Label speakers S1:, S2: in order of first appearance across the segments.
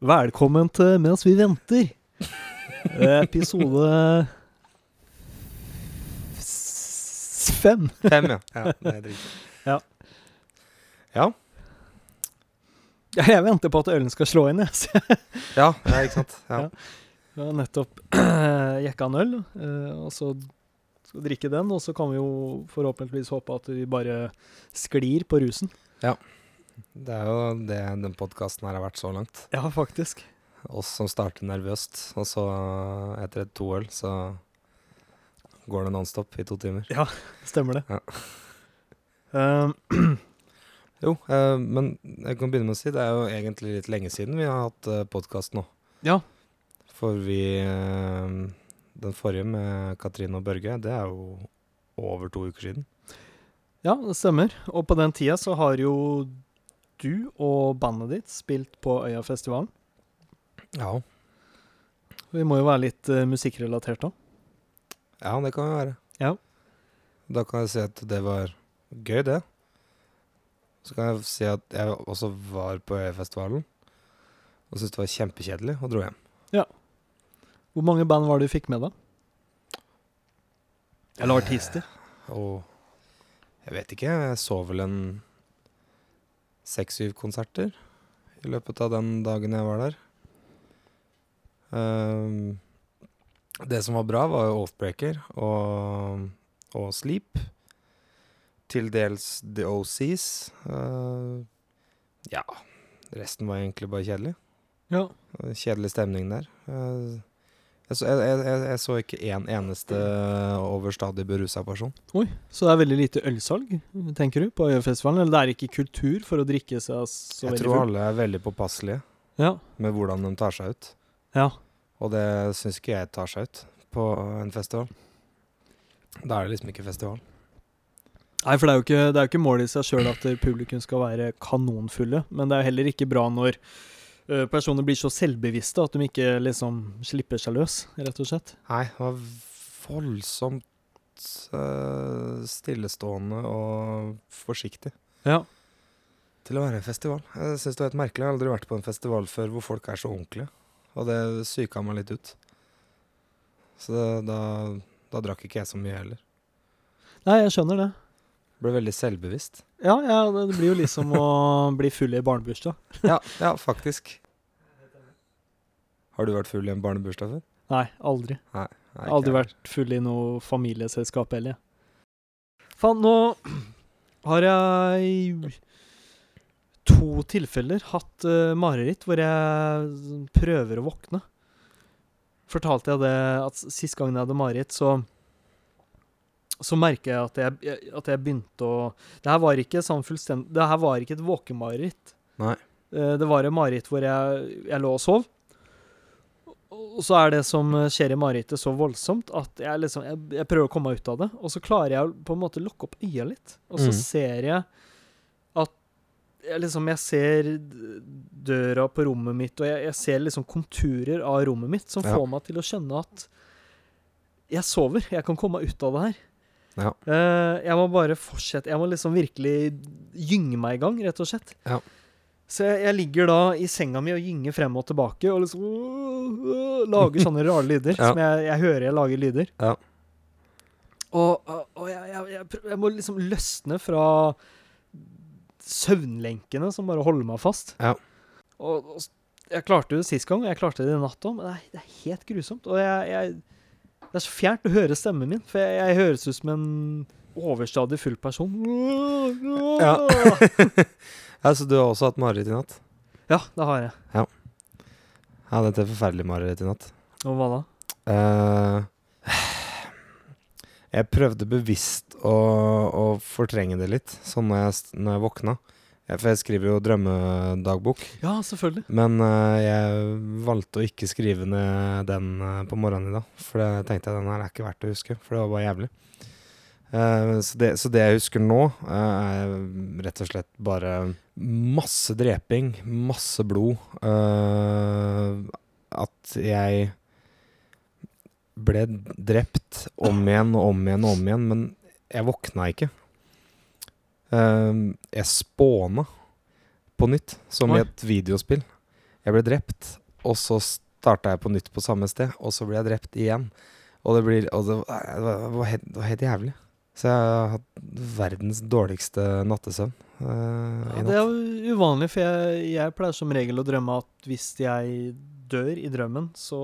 S1: Velkommen til Mens vi venter. Episode s- fem.
S2: Fem, ja. ja det er riktig.
S1: Ja.
S2: Ja,
S1: Ja, Jeg venter på at ølen skal slå inn, jeg. Så jeg
S2: ja, ja ikke sant. Ja.
S1: Ja. har nettopp jekka en øl, eh, og så skal vi drikke den. Og så kan vi jo forhåpentligvis håpe at vi bare sklir på rusen.
S2: Det er jo det den podkasten her har vært så langt.
S1: Ja, faktisk.
S2: Oss som starter nervøst, og så etter et to øl, så går det nonstop i to timer.
S1: Stemmer det.
S2: Ja.
S1: Eh,
S2: Jo, eh, men jeg kan begynne med å si det er jo egentlig litt lenge siden vi har hatt eh, podkast nå.
S1: ja.
S2: For vi eh, Den forrige med Katrine og Børge, det er jo over to uker siden.
S1: Ja, det stemmer. Og på den tida så har jo du og bandet ditt spilt på Øyafestivalen.
S2: Ja.
S1: Vi må jo være litt eh, musikkrelatert òg.
S2: Ja, det kan jo være.
S1: Ja.
S2: Da kan jeg si at det var gøy, det. Så kan jeg si at jeg også var på Øyafestivalen og syntes det var kjempekjedelig og dro hjem.
S1: Hvor mange band var det du fikk med deg? Eller artister?
S2: Og jeg vet ikke, jeg så vel en seks-syv konserter i løpet av den dagen jeg var der. Ehm, det som var bra, var jo Oathbreaker og, og Sleep. Til dels The OCs. Eh, ja, resten var egentlig bare kjedelig.
S1: Ja.
S2: Kjedelig stemning der. Eh, Jeg så, jeg, jeg, jeg så ikke én eneste overstadig berusa person.
S1: Oi, så det er veldig lite ølsalg, tenker du, på Øyafestivalen? Eller det er ikke kultur for å drikke seg så
S2: Jeg
S1: veldig
S2: tror
S1: full?
S2: alle er veldig påpasselige
S1: Ja.
S2: med hvordan de tar seg ut.
S1: ja.
S2: Og det syns ikke jeg tar seg ut på en festival. Da er det liksom ikke festival.
S1: Nei, for det er jo ikke, det er jo ikke målet i seg sjøl at eh, publikum skal være kanonfulle, men det er jo heller ikke bra når ø, personer blir så selvbevisste at de ikke liksom slipper seg løs, rett og slett.
S2: Nei, det var voldsomt eh, stillestående og forsiktig
S1: Ja.
S2: til å være en festival. Jeg syns det var helt merkelig. Jeg har aldri vært på en festival før hvor folk er så ordentlige. Og det psyka meg litt ut. Så det, da, da drakk ikke jeg så mye heller.
S1: Nei, jeg skjønner det.
S2: Ble veldig selvbevisst.
S1: Ja, ja, det det blir jo liksom å bli full i barnebursdag.
S2: Ja, ja, faktisk. Har du vært full i en barnebursdag før?
S1: Nei, aldri.
S2: Nei,
S1: Jeg har aldri
S2: ikke jeg.
S1: vært full i noe familieselskap heller. jeg. Faen, nå har jeg i to tilfeller hatt eh, mareritt hvor jeg sånn prøver å våkne. Fortalte jeg det at s- sist gangen jeg hadde mareritt, så så merker jeg at jeg, jeg- at jeg begynte å Det her var ikke sånn fullstendig Det her var ikke et våkemareritt.
S2: Nei.
S1: Eh, Det var et mareritt hvor jeg, jeg lå og sov. Og så er det som skjer i marerittet så voldsomt at jeg liksom jeg, jeg prøver å komme meg ut av det, og så klarer jeg å på en måte lukke opp øya litt, og så
S2: Mhm.
S1: ser jeg at jeg liksom Jeg ser d- døra på rommet mitt, og jeg, jeg ser liksom konturer av rommet mitt som
S2: Ja.
S1: får meg til å skjønne at jeg sover. Jeg kan komme meg ut av det her.
S2: Ja.
S1: Eh, jeg må bare fortsette. Jeg må liksom virkelig gynge meg i gang, rett og slett.
S2: Ja.
S1: Så jeg, jeg ligger da i senga mi og gynger frem og tilbake og liksom øh, øh, lager sånne rare lyder
S2: Ja.
S1: som jeg, jeg hører jeg lager lyder.
S2: Ja.
S1: Og, og- og jeg, jeg, jeg, prø- jeg må liksom løsne fra søvnlenkene som bare holder meg fast.
S2: Ja.
S1: Og, og s- jeg klarte det sist gang, og jeg klarte det i natt òg, men det er, det er helt grusomt. Og jeg, jeg Det er så fjernt å høre stemmen min, for jeg, jeg høres ut som en overstadig full person.
S2: Ja. Ja, så du har også hatt mareritt i natt?
S1: ja, det har jeg.
S2: Jeg hadde et helt forferdelig mareritt i natt.
S1: Og hva da?
S2: Eh, jeg prøvde bevisst å, å fortrenge det litt, sånn når jeg, s- når jeg våkna. Jeg- For jeg skriver jo drømmedagbok,
S1: Ja, selvfølgelig.
S2: men eh, jeg valgte å ikke skrive ned den eh, på morgenen i dag. For det tenkte jeg den her er ikke verdt å huske, for det var bare jævlig. Eh, så, det, så det jeg husker nå, eh, er rett og slett bare masse dreping, masse blod. eh, at jeg ble drept om igjen og om igjen og om igjen, men jeg våkna ikke. Eh, jeg spåna på nytt, som
S1: Oi.
S2: i et videospill. Jeg ble drept, og så starta jeg på nytt på samme sted, og så ble jeg drept igjen. Og det blir og det, var- det, var, det, var helt, det var helt jævlig. Så jeg har hatt verdens dårligste nattesøvn. eh,
S1: Ja,
S2: i
S1: det
S2: natt.
S1: er jo uvanlig, for jeg, jeg pleier som regel å drømme at hvis jeg dør i drømmen, så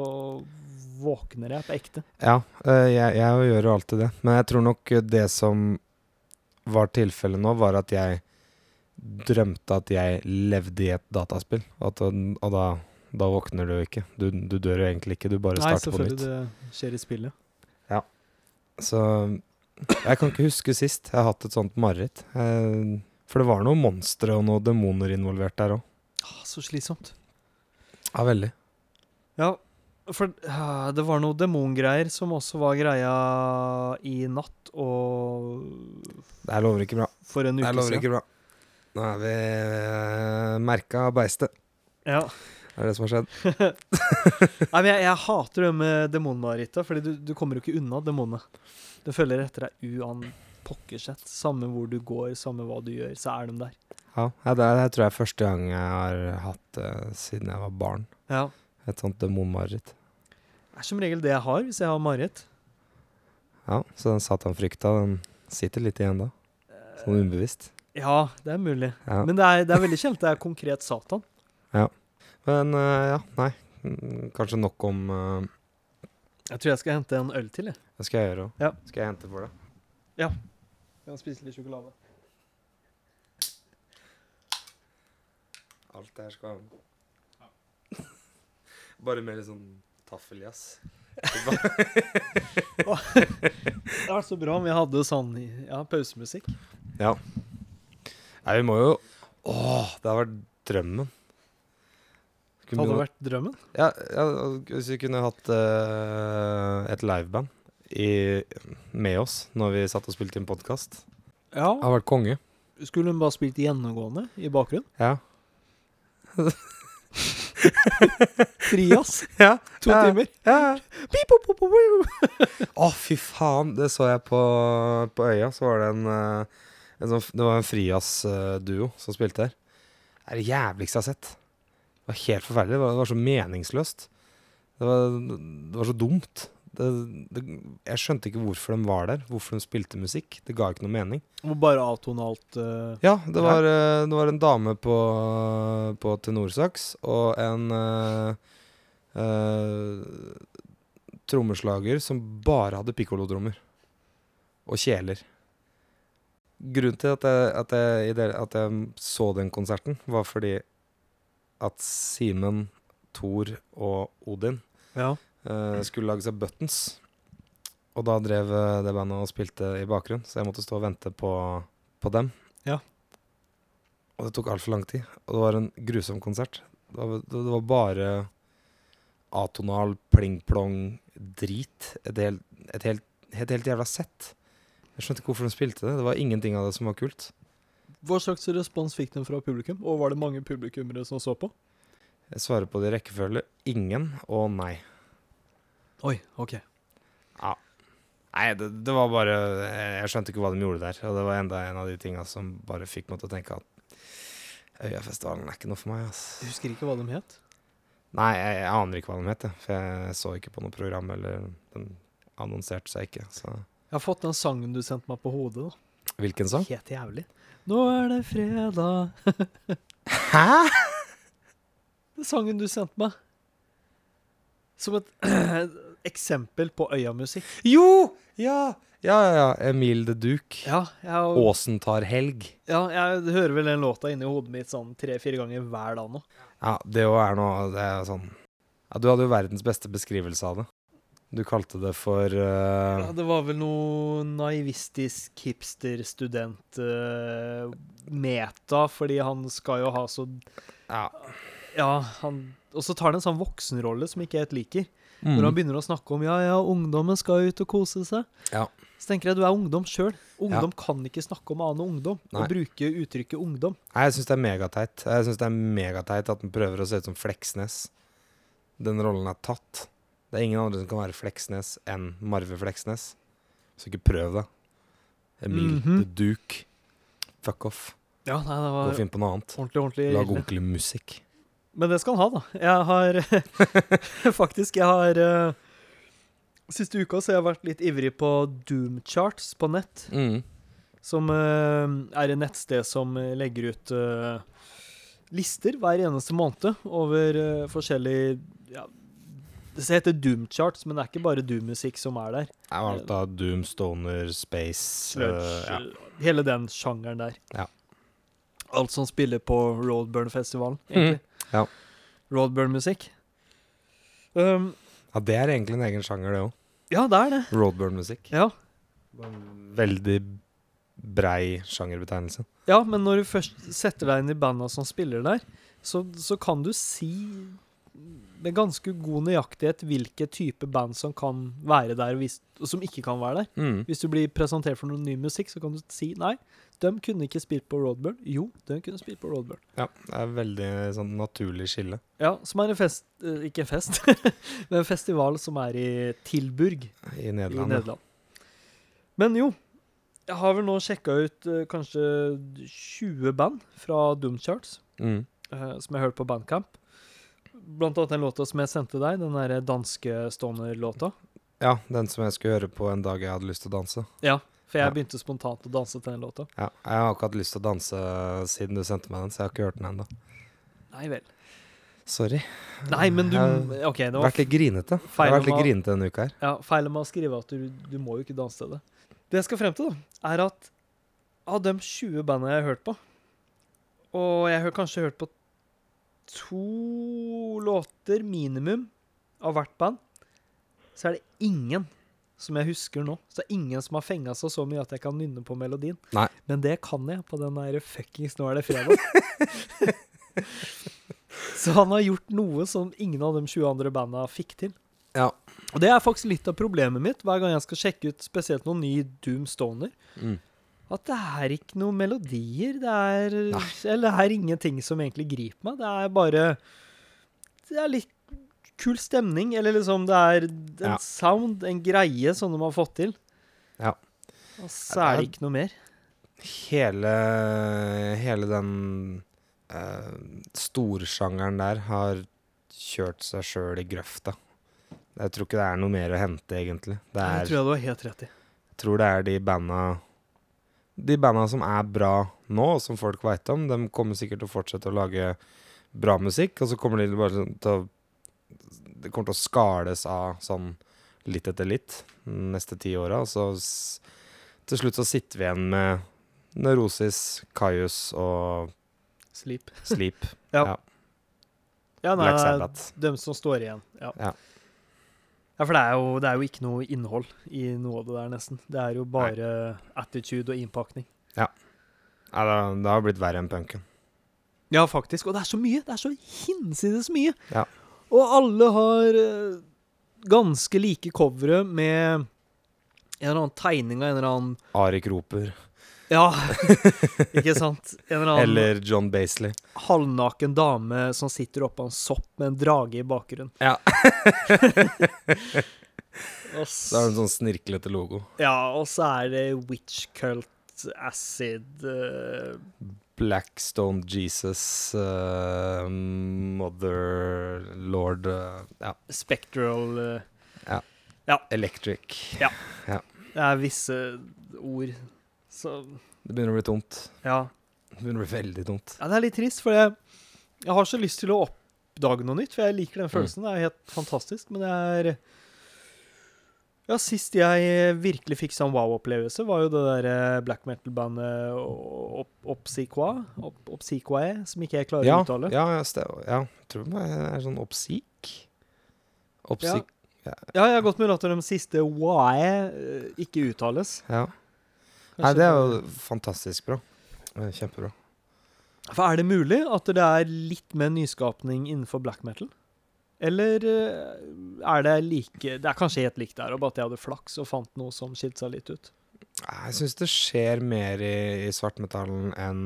S1: våkner jeg på ekte.
S2: Ja, eh, jeg, jeg gjør jo alltid det. Men jeg tror nok det som var tilfellet nå, var at jeg drømte at jeg levde i et dataspill. At, og da, da våkner du jo ikke. Du, du dør jo egentlig ikke, du bare
S1: Nei,
S2: starter på
S1: selvfølgelig,
S2: nytt.
S1: det skjer i spillet.
S2: Så jeg kan ikke huske sist jeg har hatt et sånt mareritt. Eh, For det var noen monstre og noen demoner involvert der òg.
S1: Ah, så slitsomt.
S2: Ja, veldig.
S1: Ja, for eh, det var noe demongreier som også var greia i natt og
S2: Det her lover ikke bra.
S1: for en
S2: Det her
S1: uke
S2: lover
S1: siden.
S2: ikke bra. Nå er vi eh, merka beistet.
S1: Ja.
S2: Det er det som har skjedd.
S1: Nei, men jeg, jeg hater det med demonmarerittet, fordi du, du kommer jo ikke unna demonene. Det følger etter deg uan pokkersett. Samme hvor du går, samme hva du gjør, så er de der.
S2: Ja, ja, det, er- det tror jeg er første gang jeg har hatt det siden jeg var barn.
S1: Ja.
S2: Et sånt demonmareritt.
S1: Det er som regel det jeg har hvis jeg har mareritt.
S2: Ja, så den satanfrykta, den sitter litt igjen da. Sånn ubevisst.
S1: Ja, det er mulig.
S2: Ja.
S1: Eh. Men det er, det er veldig kjent. Det er konkret Satan.
S2: Men eh, ja, nei. Mm, Kanskje nok om eh,
S1: Jeg tror jeg skal hente en øl til, jeg.
S2: Det skal jeg gjøre òg.
S1: Ja.
S2: Skal jeg hente for deg?
S1: Jeg spiser litt sjokolade.
S2: Alt det her skal være med. Bare mer sånn taffeljazz.
S1: Det hadde vært så bra om vi hadde sånn i- ja, pausemusikk.
S2: Ja. Nei, vi må jo Åh, det har vært drømmen.
S1: Det hadde vært drømmen.
S2: Ja, ja hvis vi kunne hatt eh, et liveband i, med oss når vi satt og spilte inn podkast. Det
S1: Ja.
S2: har vært konge.
S1: Skulle hun bare spilt gjennomgående i bakgrunnen?
S2: Ja.
S1: Frias,
S2: ja.
S1: to
S2: Ja.
S1: timer. Pip, pop, pop, pop, pop.
S2: Å, fy faen! Det så jeg på, på Øya. Så var det en, eh, en sånn, Det var en Frias-duo som spilte der. Det er det jævligste jeg har sett. Det var helt forferdelig. Det var, det var så meningsløst. Det var, det var så dumt. Det, det, jeg skjønte ikke hvorfor de var der, hvorfor de spilte musikk. Det ga ikke noe mening.
S1: Og bare atonalt eh,
S2: Ja, det
S1: Ja.
S2: var, eh, det var en dame på, på tenorsaks og en eh, eh, trommeslager som bare hadde piccolotrommer og kjeler. Grunnen til at jeg, at, jeg, i det- at jeg så den konserten, var fordi at Simen, Thor og Odin
S1: Ja.
S2: eh, skulle lage seg buttons. Og da drev eh, det bandet og spilte i bakgrunnen, så jeg måtte stå og vente på, på dem.
S1: Ja.
S2: Og det tok altfor lang tid. Og det var en grusom konsert. Det var, det, det var bare atonal pling-plong drit. Et helt, et, helt, et helt jævla sett. Jeg skjønte ikke hvorfor de spilte det. Det var ingenting av det som var kult.
S1: Hva slags respons fikk den fra publikum, og var det mange publikummere som så på?
S2: Jeg svarer på det i rekkefølge. Ingen og nei.
S1: Oi, OK.
S2: Nei, det, det var bare eh, Jeg skjønte ikke hva de gjorde der. Og det var enda en av de tinga som bare fikk meg til å tenke at Øyafestivalen er ikke noe for meg,
S1: Jeg
S2: ass.
S1: husker ikke hva de het.
S2: Nei, jeg, jeg aner ikke hva de het, jeg, for jeg så ikke på noe program, eller den annonserte seg ikke. Så
S1: Jeg har fått den sangen du sendte meg på hodet. da.
S2: Hvilken sang?
S1: Helt jævlig. Nå er det fredag
S2: Hæ?!
S1: Den sangen du sendte meg. Som et eksempel på øyamusikk.
S2: Jo! Ja! Ja, ja, ja. Emil the Duke.
S1: Ja, jeg,
S2: Åsen tar helg.
S1: ja, jeg hører vel den låta inni hodet mitt sånn tre-fire ganger hver dag nå.
S2: Ja, det òg er noe Det er sånn Ja, du hadde jo verdens beste beskrivelse av det. Du kalte det for eh,
S1: Ja, det var vel noe naivistisk hipster-student-meta, fordi han skal jo ha så
S2: Ja.
S1: Ja, han Og så tar han en sånn voksenrolle som ikke jeg helt liker.
S2: Mm.
S1: Når han begynner å snakke om ja, ja, ungdommen skal ut og kose seg,
S2: Ja.
S1: så tenker jeg du er ungdom sjøl. Ungdom kan ikke snakke om annen ungdom
S2: Nei.
S1: og bruke uttrykket ungdom.
S2: Nei, jeg syns det er megateit. Jeg synes det er megateit At den prøver å se ut som Fleksnes. Den rollen er tatt. Det er ingen andre som kan være Fleksnes enn Marve Fleksnes. Så ikke prøv det. Emil
S1: Mhm.
S2: the Duke. Fuck off.
S1: Ja, nei, det
S2: Gå og
S1: var
S2: finn på noe annet.
S1: ordentlig, ordentlig
S2: Lag
S1: ille.
S2: ordentlig musikk.
S1: Men det skal han ha, da. Jeg har Faktisk, jeg har eh, Siste uka så har jeg vært litt ivrig på Doomcharts på nett,
S2: Mm.
S1: som eh, er et nettsted som legger ut eh, lister hver eneste måned over eh, forskjellige ja, Det heter Doomcharts, men det er ikke bare Doom-musikk som er der.
S2: Jeg har alt av Doom, Stoner, Space
S1: Sludge,
S2: eh, ja.
S1: Hele den sjangeren der.
S2: Ja.
S1: Alt som spiller på Roadburn-festivalen, egentlig.
S2: Mm. ja.
S1: Roadburn-musikk. Um,
S2: ja, det er egentlig en egen sjanger, det òg.
S1: ja, det er det.
S2: Roadburn-musikk.
S1: Ja.
S2: Veldig brei sjangerbetegnelse.
S1: ja, men når du først setter deg inn i banda som spiller der, så, så kan du si med ganske god nøyaktighet hvilke type band som kan være der, og, hvis, og som ikke kan være der.
S2: Mm.
S1: Hvis du blir presentert for noe ny musikk, så kan du si nei, de kunne ikke spilt på Roadburn. Jo, de kunne spilt på Roadburn.
S2: Ja, det er veldig sånn naturlig skille.
S1: Ja, som er en fest eh, Ikke en fest, men en festival som er i Tilburg
S2: I
S1: i
S2: Nederland. ja.
S1: Nederland. Men jo, jeg har vel nå sjekka ut eh, kanskje 20 band fra Doomcharts
S2: Mm.
S1: eh, som jeg hørte på Bandcamp. Blant annet den låta som jeg sendte deg, den derre danske stoner-låta.
S2: ja, den som jeg skulle høre på en dag jeg hadde lyst til å danse.
S1: Ja, for jeg
S2: Ja.
S1: begynte spontant å danse til den låta.
S2: Ja, jeg har ikke hatt lyst til å danse siden du sendte meg den, så jeg har ikke hørt den ennå.
S1: Nei vel.
S2: Sorry.
S1: Nei, men du
S2: Jeg
S1: OK, det
S2: har
S1: var
S2: vært litt grinete. Jeg
S1: feil
S2: har vært
S1: om
S2: litt
S1: å-
S2: grinete denne uka her.
S1: Ja, feilen med å skrive at du, du må jo ikke danse til det. Det jeg skal frem til, da, er at av de 20 bandene jeg har hørt på, og jeg har kanskje hørt på to låter minimum av hvert band, så er det ingen som jeg husker nå. Så det er ingen som har fenga seg så mye at jeg kan nynne på melodien.
S2: Nei.
S1: Men det kan jeg på den der fuckings Nå er det fredag. så han har gjort noe som ingen av de 20 andre banda fikk til.
S2: Ja.
S1: Og det er faktisk litt av problemet mitt hver gang jeg skal sjekke ut spesielt noen ny Doom Stoner.
S2: Mm.
S1: At det er ikke noen melodier. Det er Eller det er ingenting som egentlig griper meg. Det er bare Det er litt kul stemning, eller liksom det er en
S2: Ja.
S1: sound, en greie, som de har fått til.
S2: Ja.
S1: Og så er det ikke noe mer.
S2: Hele, hele den eh, storsjangeren der har kjørt seg sjøl i grøfta. Jeg tror ikke det er noe mer å hente, egentlig. Det
S1: Det
S2: er,
S1: tror jeg du har helt rett i.
S2: jeg tror det er de banda De banda som er bra nå, og som folk veit om, de kommer sikkert til å fortsette å lage bra musikk, og så kommer de bare sånn til å Det kommer til å skales av sånn litt etter litt de neste ti åra, og så s- til slutt så sitter vi igjen med Neurosis, Kaius og
S1: Sleep.
S2: Sleep,
S1: Ja, nei,
S2: Black
S1: nei,
S2: Sabbath.
S1: dem som står igjen. Ja.
S2: Ja.
S1: Ja, for det er, jo, det er jo ikke noe innhold i noe av det der, nesten. Det er jo bare attitude og innpakning.
S2: Nei, det, det har blitt verre enn punken.
S1: Ja, faktisk. Og det er så mye. Det er så hinsides mye.
S2: Ja.
S1: Og alle har eh, ganske like covere med en eller annen tegning av en eller annen
S2: Arik Roper
S1: Ja, ikke sant? En eller annen
S2: eller John Basley.
S1: halvnaken dame som sitter oppå en sopp med en drage i bakgrunnen.
S2: Ja.
S1: Og
S2: Så
S1: s-
S2: er det en sånn snirklete logo.
S1: ja, og så er det witch cult acid eh,
S2: Blackstone Jesus, eh, Mother Lord eh, Ja,
S1: spectral eh,
S2: Electric.
S1: Det er visse ord som
S2: Det begynner å bli tomt.
S1: ja.
S2: Det begynner å bli veldig tomt.
S1: ja, det er litt trist, for jeg, jeg har så lyst til å oppdage noe nytt, for jeg liker den følelsen. Det er helt fantastisk, men det er Ja, sist jeg virkelig fikk sånn wow-opplevelse, var jo det der eh, black metal-bandet Op- Opsiqua, Op Opsiquae, E, som ikke jeg klarer
S2: Ja,
S1: å uttale. Ja.
S2: ja, ja, ste- ja, jeg tror det er sånn oppsik. Oppsik,
S1: jeg har godt mulig at de siste wae eh, ikke uttales.
S2: ja.
S1: Kanskje
S2: Nei, det er jo fantastisk bra. Eh, Kjempebra.
S1: For er det mulig at det er litt mer nyskapning innenfor black metal? Eller eh, er det like Det er kanskje helt likt der, og bare at jeg hadde flaks og fant noe som skilte seg litt ut.
S2: Nei, Jeg syns det skjer mer i, i svartmetallen enn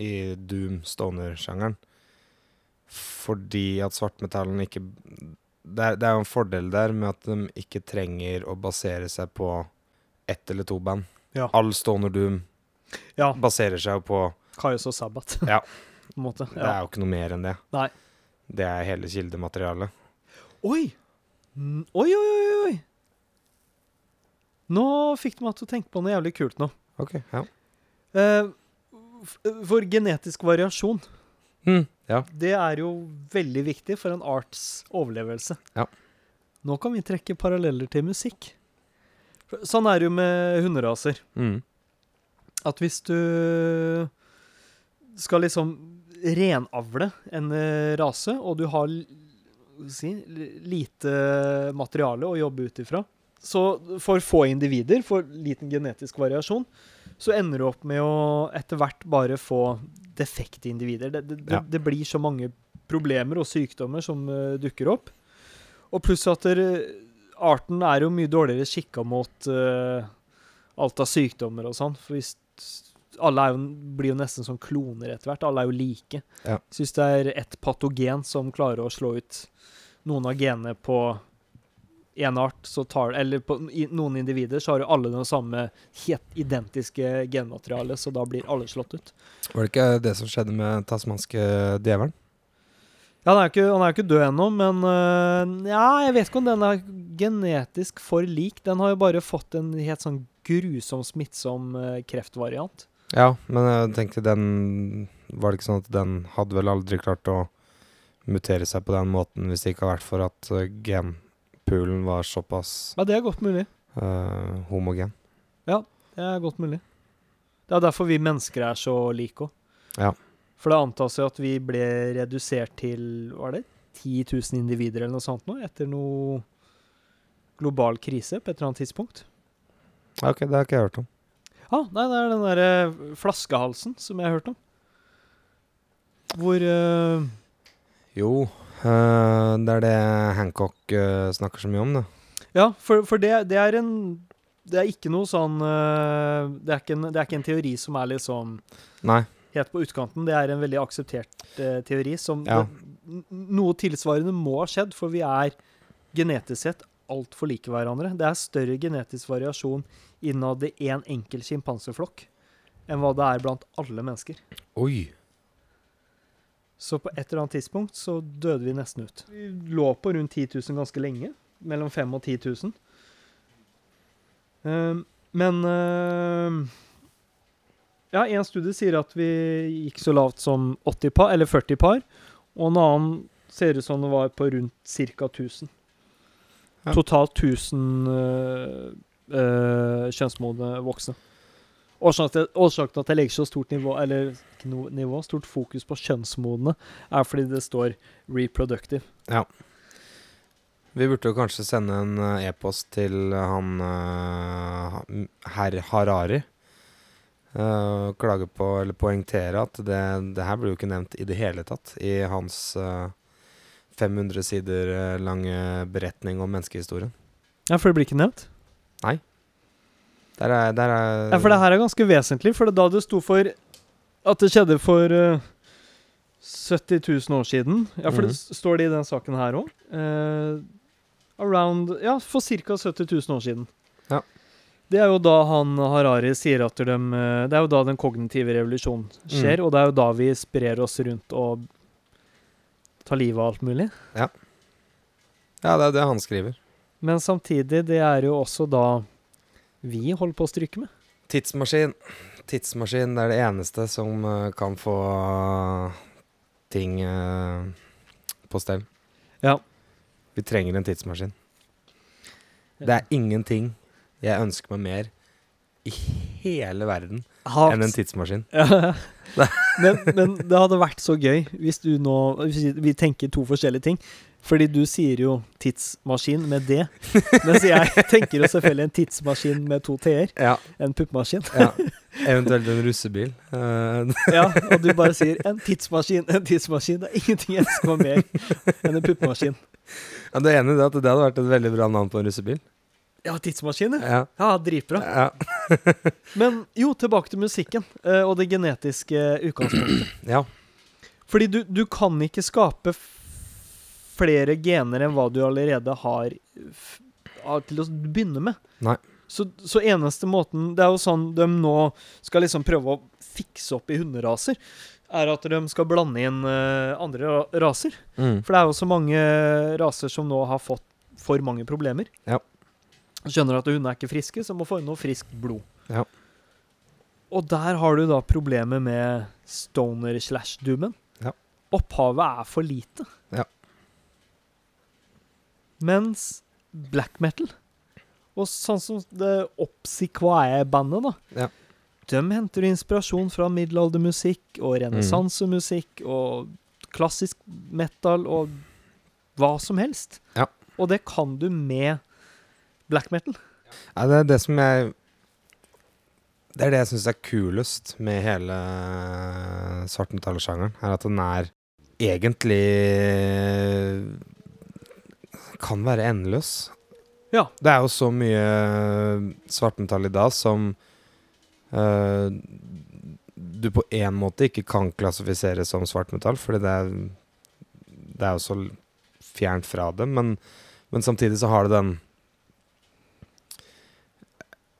S2: i doom stoner-sjangeren. Fordi at svartmetallen ikke det er, det er jo en fordel der med at de ikke trenger å basere seg på ett eller to band.
S1: Ja.
S2: All stoner doom
S1: Ja.
S2: baserer seg jo på
S1: Kaios og Sabbat. på en måte.
S2: Det
S1: Ja.
S2: er jo ikke noe mer enn det.
S1: Nei.
S2: Det er hele kildematerialet.
S1: Oi! Mm, Oi, oi, oi, oi, oi! Nå fikk de meg til å tenke på noe jævlig kult nå.
S2: Ok, ja.
S1: Eh, f- for genetisk variasjon,
S2: Mm, ja.
S1: det er jo veldig viktig for en arts overlevelse.
S2: Ja.
S1: Nå kan vi trekke paralleller til musikk. For- Sånn er det jo med hunderaser.
S2: Mm.
S1: At hvis du skal liksom renavle en eh, rase, og du har l- hva skal jeg si, l- lite materiale å jobbe ut ifra, så for få individer, for liten genetisk variasjon, så ender du opp med å etter hvert bare få defekte individer. Det, det, det,
S2: Ja.
S1: det blir så mange problemer og sykdommer som eh, dukker opp. Og pluss at der, arten er jo mye dårligere skikka mot eh, alt av sykdommer og sånn. For hvis alle er jo, blir jo nesten som kloner etter hvert. Alle er jo like.
S2: Ja.
S1: Jeg Syns det er ett patogen som klarer å slå ut noen av genene på én art, så tar Eller på i noen individer så har jo alle det samme helt identiske genmaterialet, så da blir alle slått ut.
S2: Var det ikke det som skjedde med tasmanske djevelen?
S1: Ja, han er jo ikke, han er jo ikke død ennå, men øh, ja, jeg vet ikke om den er genetisk for lik. Den har jo bare fått en helt sånn grusom, smittsom øh, kreftvariant.
S2: Ja, men jeg tenkte den Var det ikke sånn at den hadde vel aldri klart å mutere seg på den måten hvis det ikke hadde vært for at eh, genpoolen var såpass
S1: Ja, det er godt mulig.
S2: eh, homogen?
S1: Det er godt mulig. Det er derfor vi mennesker er så like òg.
S2: Ja.
S1: For det antas jo at vi ble redusert til var det 10 000 individer eller noe sånt nå, etter noe global krise på et eller annet tidspunkt.
S2: Ja, Ok, det har ikke jeg hørt om.
S1: Ja, ah, nei, det er den derre flaskehalsen som jeg har hørt om. Hvor øh,
S2: Jo, eh, det er det Hancock eh, snakker så mye om, det.
S1: Ja, for, for det, det er en Det er ikke noe sånn øh, det, er ikke en, det er ikke en teori som er liksom
S2: Nei.
S1: helt på utkanten. Det er en veldig akseptert eh, teori. som
S2: Ja.
S1: det, n- Noe tilsvarende må ha skjedd, for vi er genetisk sett altfor like hverandre. Det er større genetisk variasjon innad i én enkel sjimpanseflokk enn hva det er blant alle mennesker.
S2: Oi.
S1: Så på et eller annet tidspunkt så døde vi nesten ut. Vi lå på rundt 10 000 ganske lenge. Mellom 5 og 10 000. Ehm, men ehm, Ja, en studie sier at vi gikk så lavt som 80 par, eller 40 par. Og en annen ser ut som det var på rundt ca. 1000.
S2: Ja.
S1: Totalt 1000 øh, øh, kjønnsmodne voksne. Årsaken til, årsaken til at jeg legger så stort nivå, eller ikke noe nivå, stort fokus på kjønnsmodne, er fordi det står 'reproductive'.
S2: Vi burde jo kanskje sende en eh, e-post til han eh, ha- m- herr Harari. eh, og klage på, eller poengtere at det, det her blir jo ikke nevnt i det hele tatt i hans eh, 500 sider eh, lange beretning om menneskehistorien.
S1: Ja, for det blir ikke nevnt?
S2: Der er, der er
S1: Ja, for det her er ganske vesentlig, for da det sto for at det skjedde for eh, 70 000 år siden Ja, for det
S2: Mhm.
S1: s- står det i den saken her òg. around Ja, for ca. 70 000 år siden.
S2: Ja.
S1: Det er jo da han Harari sier at de, eh, det er jo da den kognitive revolusjonen
S2: Mm.
S1: skjer, og det er jo da vi sprer oss rundt og tar livet av alt mulig.
S2: Ja, det er det han skriver.
S1: Men samtidig, det er jo også da vi holder på å stryke med.
S2: Tidsmaskin. Tidsmaskin det er det eneste som eh, kan få eh, ting eh, på stell.
S1: Ja.
S2: Vi trenger en tidsmaskin. Det er ingenting jeg ønsker meg mer i hele verden enn en tidsmaskin.
S1: Ja. men, men det hadde vært så gøy hvis du nå hvis Vi tenker to forskjellige ting. Fordi du sier jo 'tidsmaskin' med det, mens jeg tenker jo selvfølgelig en tidsmaskin med to t-er.
S2: Ja,
S1: En puppemaskin.
S2: ja. Eventuelt en russebil. Eh,
S1: Ja, og du bare sier 'en tidsmaskin', en tidsmaskin. Det er ingenting jeg elsker meg mer enn en puppemaskin.
S2: ja, det ene er at det hadde vært et veldig bra navn på en russebil.
S1: Ja, tidsmaskin, ja.
S2: Ja,
S1: Ja, dritbra.
S2: ja.
S1: Men jo, tilbake til musikken eh, og det genetiske utgangspunktet.
S2: ja.
S1: Fordi du, du kan ikke skape f- flere gener enn hva du allerede har, f har til å begynne med.
S2: Nei.
S1: Så, så eneste måten Det er jo sånn de nå skal liksom prøve å fikse opp i hunderaser, er at de skal blande inn eh, andre ra- raser.
S2: Mm.
S1: For det er jo så mange raser som nå har fått for mange problemer.
S2: Ja.
S1: Skjønner at hundene er ikke friske, så må få inn noe friskt blod.
S2: Ja.
S1: Og der har du da problemet med stoner slash doomen.
S2: Ja.
S1: Opphavet er for lite.
S2: Ja.
S1: Mens black metal, og sånn som det Opsikvae-bandet, da
S2: Ja.
S1: De henter inspirasjon fra middelaldermusikk og
S2: Mm.
S1: renessansemusikk og klassisk metal og hva som helst.
S2: Ja.
S1: Og det kan du med black metal.
S2: Nei, det er det som jeg Det er det jeg syns er kulest med hele svartmetallsjangeren, er at den er egentlig kan være endeløs.
S1: Ja.
S2: Det er jo så mye svartmetall i dag som eh, du på én måte ikke kan klassifisere som svartmetall, fordi det er, det er jo så fjernt fra det, men, men samtidig så har det den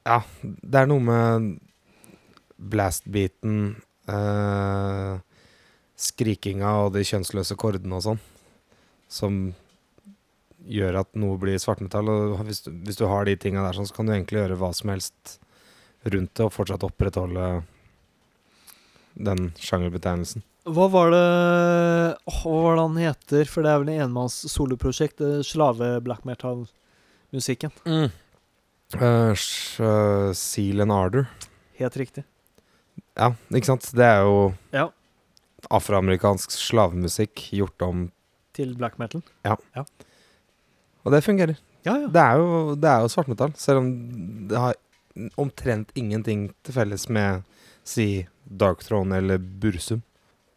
S2: ja, det er noe med blast-beaten, eh, skrikinga og de kjønnsløse kordene og sånn, som gjør at noe blir svartmetall. Og hvis, du- hvis du har de tinga der, sånn, så kan du egentlig gjøre hva som helst rundt det, og fortsatt opprettholde den sjangerbetegnelsen.
S1: Hva var det åh, Hva var det han heter? For det er vel en enmanns soloprosjekt? det Slave-black metal-musikken.
S2: Eh, s- eh, seal and Ardor.
S1: Helt riktig.
S2: Ja, ikke sant? Det er jo
S1: Ja.
S2: afroamerikansk slavemusikk gjort om
S1: Til black metal.
S2: Og det fungerer.
S1: Ja, ja.
S2: Det er jo, det er jo svartmetall, selv om det har omtrent ingenting til felles med si Dark Throne eller Bursum.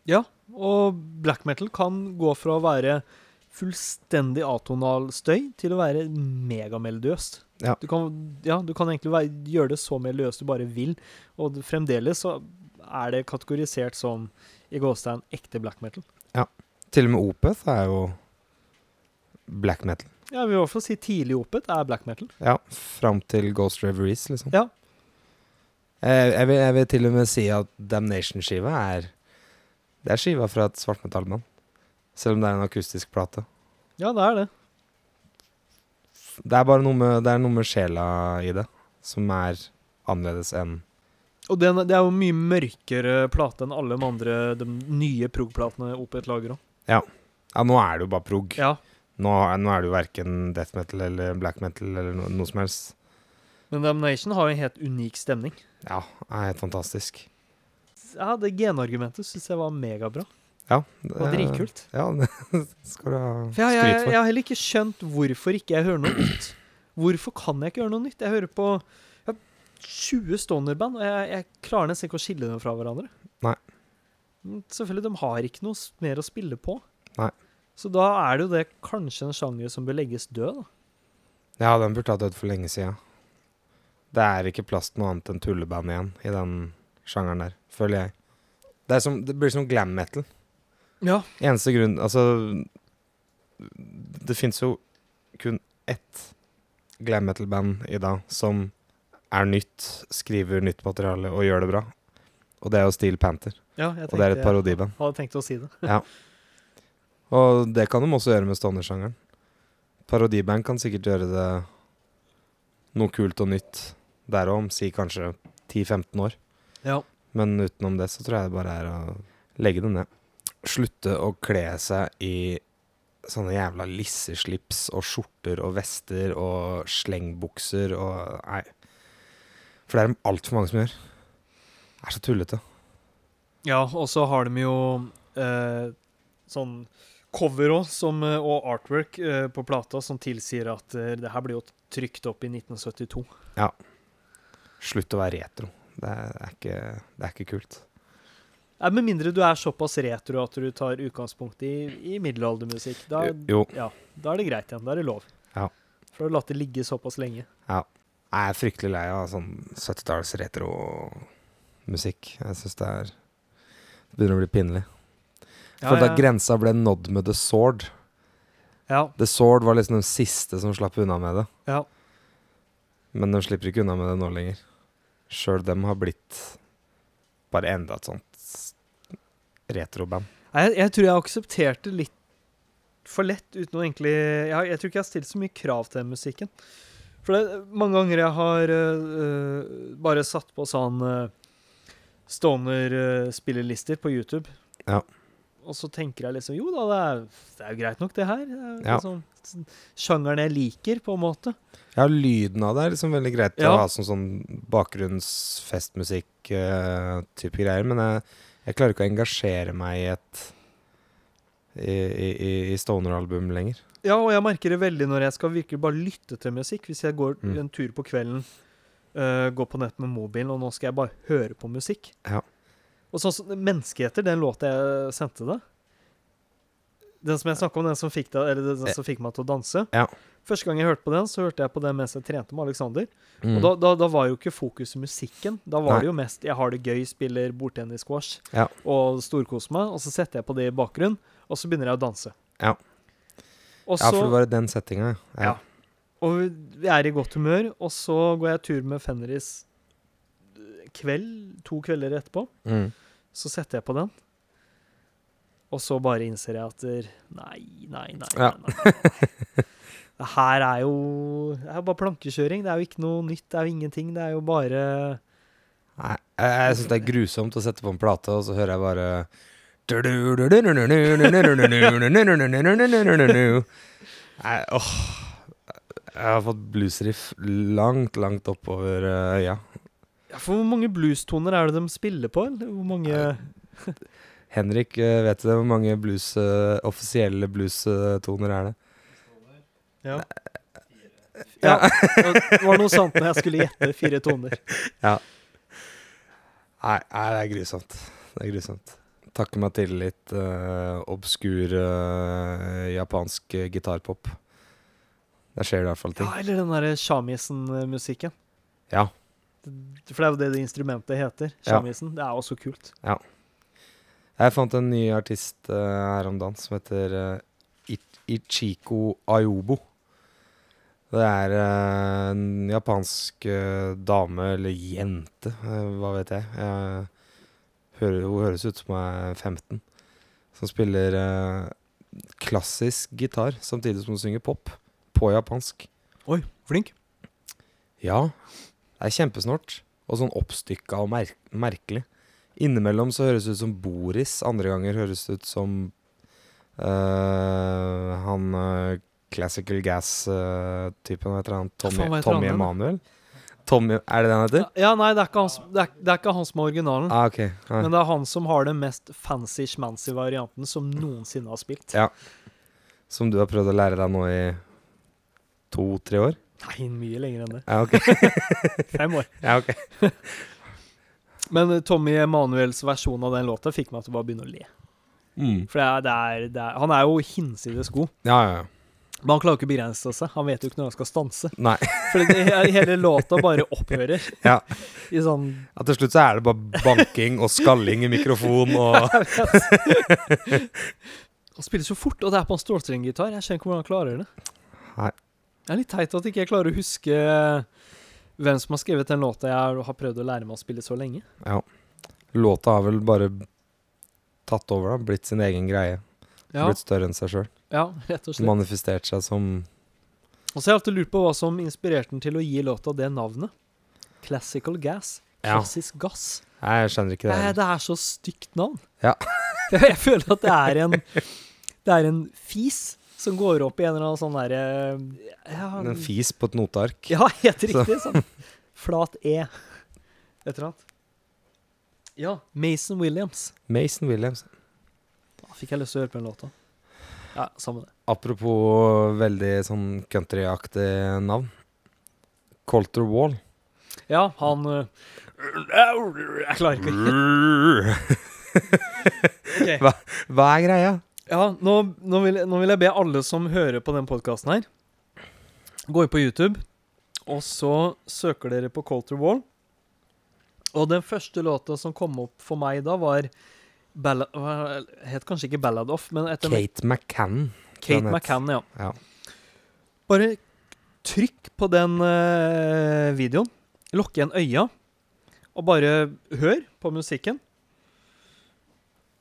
S1: Ja, og black metal kan gå fra å være fullstendig atonal støy til å være megamelodiøst.
S2: Ja.
S1: Du kan, ja, du kan egentlig være, gjøre det så melodiøst du bare vil, og det- fremdeles så er det kategorisert som i gåstein ekte black metal.
S2: Til og med Opeth er jo black metal.
S1: Ja, vi vil i hvert fall si tidlig opet er black metal.
S2: Ja, fram til Ghost Reveries, liksom.
S1: Ja.
S2: Jeg, jeg, vil, jeg vil til og med si at Damnation-skiva er Det er skiva fra et svartmetallband. Selv om det er en akustisk plate.
S1: Ja, det er det.
S2: Det er bare noe med, det er noe med sjela i det som er annerledes enn
S1: Og den, det er jo mye mørkere plate enn alle de andre de nye prog-platene Opet lager òg.
S2: Ja, nå er det jo bare prog.
S1: Ja,
S2: Nå, er- nå er det jo verken death metal eller black metal eller no, noe som helst.
S1: men Damnation har jo en helt unik stemning.
S2: Ja, er helt fantastisk.
S1: Ja, Det genargumentet syns jeg var megabra.
S2: Ja,
S1: Det var dritkult.
S2: Ja, det skal du ha
S1: For jeg, jeg, jeg,
S2: skryt for.
S1: har heller ikke skjønt hvorfor ikke jeg hører noe nytt. Hvorfor kan jeg ikke høre noe nytt? Jeg hører på jeg har 20 stonerband, og jeg, jeg klarer nesten ikke å skille dem fra hverandre.
S2: Nei.
S1: Men Selvfølgelig, de har ikke noe s- mer å spille på.
S2: Nei.
S1: Så da er det jo det kanskje en sjanger som bør legges død, da.
S2: Ja, den burde ha dødd for lenge siden. Det er ikke plass til noe annet enn tulleband igjen i den sjangeren der, føler jeg. Det, er som, det blir som glam metal.
S1: Ja.
S2: Eneste grunn Altså, det fins jo kun ett glam metal-band i dag som er nytt, skriver nytt materiale og gjør det bra. Og det er jo Steel Panther.
S1: ja jeg
S2: Og det er et
S1: tenkte-
S2: parodiband.
S1: Hadde tenkt å si det.
S2: Og det kan de også gjøre med stonersjangeren. Parodiband kan sikkert gjøre det noe kult og nytt der òg, om si kanskje 10-15 år.
S1: Ja.
S2: Men utenom det så tror jeg det bare er å legge det ned. Slutte å kle seg i sånne jævla lisseslips og skjorter og vester og slengbukser og Nei. For det er det altfor mange som gjør. Det er så tullete.
S1: Ja, og så har de jo eh, sånn cover òg, som, eh, og artwork eh, på plata, som tilsier at eh, det her blir jo trykt opp i 1972.
S2: Slutt å være retro. Det er ikke, det er ikke kult.
S1: Nei, Med mindre du er såpass retro at du tar utgangspunkt i, i middelaldermusikk. Da,
S2: Jo.
S1: da er det greit igjen. Da er det lov.
S2: Ja.
S1: For du har latt det ligge såpass lenge.
S2: Jeg er fryktelig lei av sånn 70-talls retromusikk. Jeg syns det er det begynner å bli pinlig. For da grensa ble nådd med The Sword
S1: ja,
S2: The Sword var liksom den siste som slapp unna med det.
S1: ja.
S2: Men de slipper ikke unna med det nå lenger. Sjøl dem har blitt bare enda et sånt retroband.
S1: Nei, Jeg, jeg tror jeg aksepterte litt for lett uten å egentlig Jeg, har- jeg tror ikke jeg har stilt så mye krav til den musikken. For det, mange ganger jeg har øh, øh, bare satt på sånn øh, stoner-spillelister på YouTube.
S2: Ja.
S1: Og så tenker jeg liksom Jo da, det er, det er jo greit nok, det her. Det er
S2: Ja.
S1: liksom, sånn sjangeren jeg liker, på en måte.
S2: Ja, lyden av det er liksom veldig greit
S1: Ja.
S2: å ha som sånn bakgrunnsfestmusikk-type greier, men jeg, jeg klarer ikke å engasjere meg i et i, i, i- i Stoner-album lenger.
S1: Ja, og jeg merker det veldig når jeg skal virkelig bare lytte til musikk. Hvis jeg går
S2: Mm.
S1: en tur på kvelden, øh, går på nett med mobilen, og nå skal jeg bare høre på musikk.
S2: Ja.
S1: Og sånn som 'Menneskeheter', den låta jeg sendte deg Den som jeg snakka om, den som fikk, deg, eller den som fikk meg til å danse.
S2: Ja.
S1: Første gang jeg hørte på den, så hørte jeg på den mens jeg trente med Aleksander.
S2: Mm.
S1: Og da, da, da var jo ikke fokus i musikken. Da var
S2: Nei.
S1: det jo mest 'jeg har det gøy, spiller bordtennis, squash'
S2: Ja.
S1: og storkoser meg. Og så setter jeg på det i bakgrunnen, og så begynner jeg å danse.
S2: Ja.
S1: Og
S2: ja, for
S1: så-
S2: det var i den settinga, ja.
S1: Ja. og vi er i godt humør, og så går jeg tur med Fenris kveld, to kvelder etterpå.
S2: Mm.
S1: Så setter jeg på den. Og så bare innser jeg at der- nei, nei, nei. nei,
S2: Ja.
S1: nei. Det her er jo det er jo bare plankekjøring. Det er jo ikke noe nytt, det er jo ingenting. Det er jo bare
S2: Nei, jeg, jeg syns det er grusomt å sette på en plate, og så hører jeg bare Nei, åh. Jeg har fått bluesriff langt, langt oppover eh, øya.
S1: ja, For hvor mange bluestoner er det de spiller på? Eller hvor mange
S2: Henrik, eh, vet du det, hvor mange blues, eh, offisielle blues-toner er det?
S1: Ja. ja. Det var noe sant når jeg skulle gjette fire toner.
S2: Nei, nei, det er grusomt. Det er grusomt. Takke meg til litt eh, obskur eh, japansk eh, gitarpop. Der skjer det i hvert fall ting.
S1: Ja, eller den derre shamisen-musikken.
S2: Ja.
S1: Det- For det er jo det det instrumentet heter.
S2: Ja.
S1: Shamisen. Det er også kult.
S2: Jeg fant en ny artist eh, her om dagen som heter eh, Ich- Ichiko Ayobo. Det er eh, en japansk eh, dame, eller jente, eh, hva vet jeg. Jeg hører, hun høres ut som hun er 15. Som spiller eh, klassisk gitar samtidig som hun synger pop på japansk.
S1: Oi, flink.
S2: Ja, det er kjempesnort. Og sånn oppstykka og mer merkelig. Innimellom så høres det ut som Boris, andre ganger høres det ut som eh, han eh, Classical Gas-typen, hva heter han? Tommy,
S1: faen, hva heter
S2: Tommy
S1: han, da?
S2: Emanuel? Tommy, er det det han heter?
S1: Ja, nei, det er ikke han, som- det er, det er ikke han som er originalen.
S2: Ah, ok. Ja.
S1: Men det er han som har den mest fancy-schmancy varianten som noensinne har spilt.
S2: Ja. Som du har prøvd å lære deg nå i to-tre år?
S1: Nei, mye lenger enn det.
S2: Ja, ok.
S1: Fem år.
S2: Ja, ok.
S1: Men eh, Tommy Emanuels versjon av den låta fikk meg til å bare begynne å le.
S2: Mm.
S1: For det er, det er, det er, han er jo hinsides god.
S2: Ja, ja, ja.
S1: Men han klarer jo ikke å begrense seg. Han vet jo ikke når han skal stanse.
S2: Nei.
S1: For det, hele låta bare opphører
S2: Ja.
S1: i sånn
S2: Ja, til slutt så er det bare banking og skalling i mikrofon og
S1: Han spiller så fort, og det er på en stålstrenggitar. Jeg skjønner ikke hvordan han klarer det.
S2: Nei.
S1: Det er litt teit at ikke jeg klarer å huske eh, hvem som har skrevet den låta jeg har prøvd å lære meg å spille så lenge.
S2: Låta har vel bare tatt over, da. Blitt sin egen greie.
S1: Ja,
S2: Blitt større enn seg sjøl.
S1: ja rett og slett.
S2: Manifestert seg som
S1: Og så har jeg alltid lurt på hva som inspirerte den til å gi låta det navnet. Classical Gas.
S2: Ja.
S1: Klassisk gass.
S2: Nei, jeg skjønner ikke det.
S1: Nei,
S2: heller.
S1: det er så stygt navn.
S2: Ja.
S1: jeg føler at det er en Det er en fis som går opp i en eller annen sånn derre ja,
S2: En fis på et noteark.
S1: Ja, helt
S2: Så-
S1: riktig. Sånn. Flat E. Et eller annet. Ja. Mason Williams.
S2: Mason Williams.
S1: Da fikk jeg lyst til å høre på den låta. Ja, samme det.
S2: Apropos veldig sånn countryaktig navn. Colter Wall.
S1: Ja, han øh, Jeg klarer ikke.
S2: Hva
S1: Ok.
S2: er greia?
S1: Ja, nå, nå, vil, nå vil jeg be alle som hører på den podkasten her, gå inn på YouTube, og så søker dere på Colter Wall. Og den første låta som kom opp for meg da, var Ballad, hva- Het kanskje ikke Ballad Off, men etter
S2: Kate McCann.
S1: Kate
S2: Planet.
S1: McCann, ja.
S2: Ja.
S1: Bare trykk på den eh, videoen. Lokk igjen øya, og bare hør på musikken.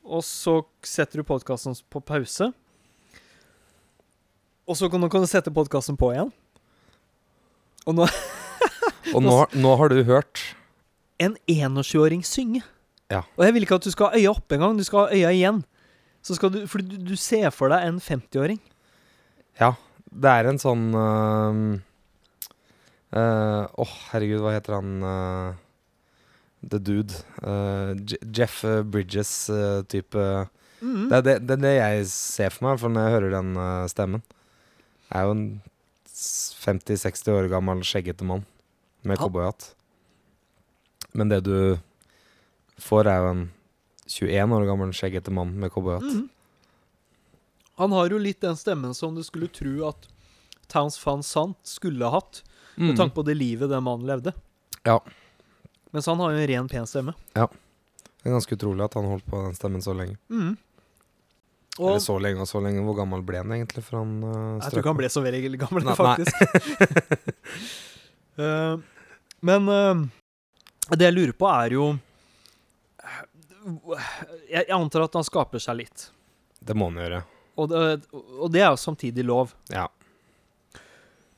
S1: Og så setter du podkasten på pause. Og så kan, nå kan du sette podkasten på igjen. Og nå
S2: Og nå, nå har du hørt
S1: en 21-åring synge.
S2: Ja.
S1: Og jeg vil ikke at du skal ha øya oppe engang. Du skal ha øya igjen. Så skal du, for du, du ser for deg en 50-åring.
S2: Det er en sånn øhm, øh, Åh, herregud, hva heter han øh, The Dude. Øh, Je- Jeff Bridges-type.
S1: Mhm.
S2: det, er det, det er det jeg ser for meg for når jeg hører den øh, stemmen. Jeg er jo en s- 50-60 år gammel skjeggete mann med
S1: Ja.
S2: cowboyhatt. Men det du får, er jo en 21 år gammel skjeggete mann med cowboyhatt.
S1: Mhm. Han har jo litt den stemmen som du skulle tro at Towns van Sant skulle ha hatt, med tanke på det livet den mannen levde.
S2: Mhm. Ja.
S1: Mens han har jo en ren, pen stemme.
S2: Det er ganske utrolig at han holdt på den stemmen så lenge.
S1: Mhm.
S2: Eller
S1: Og
S2: så lenge og så lenge. Hvor gammel ble han egentlig? For han uh,
S1: Jeg tror ikke han ble så veldig gammel,
S2: Nei,
S1: faktisk. Eh, men eh, det jeg lurer på, er jo Jeg jeg antar at han skaper seg litt.
S2: Det må han gjøre.
S1: Og det, og det er jo samtidig lov.
S2: Ja.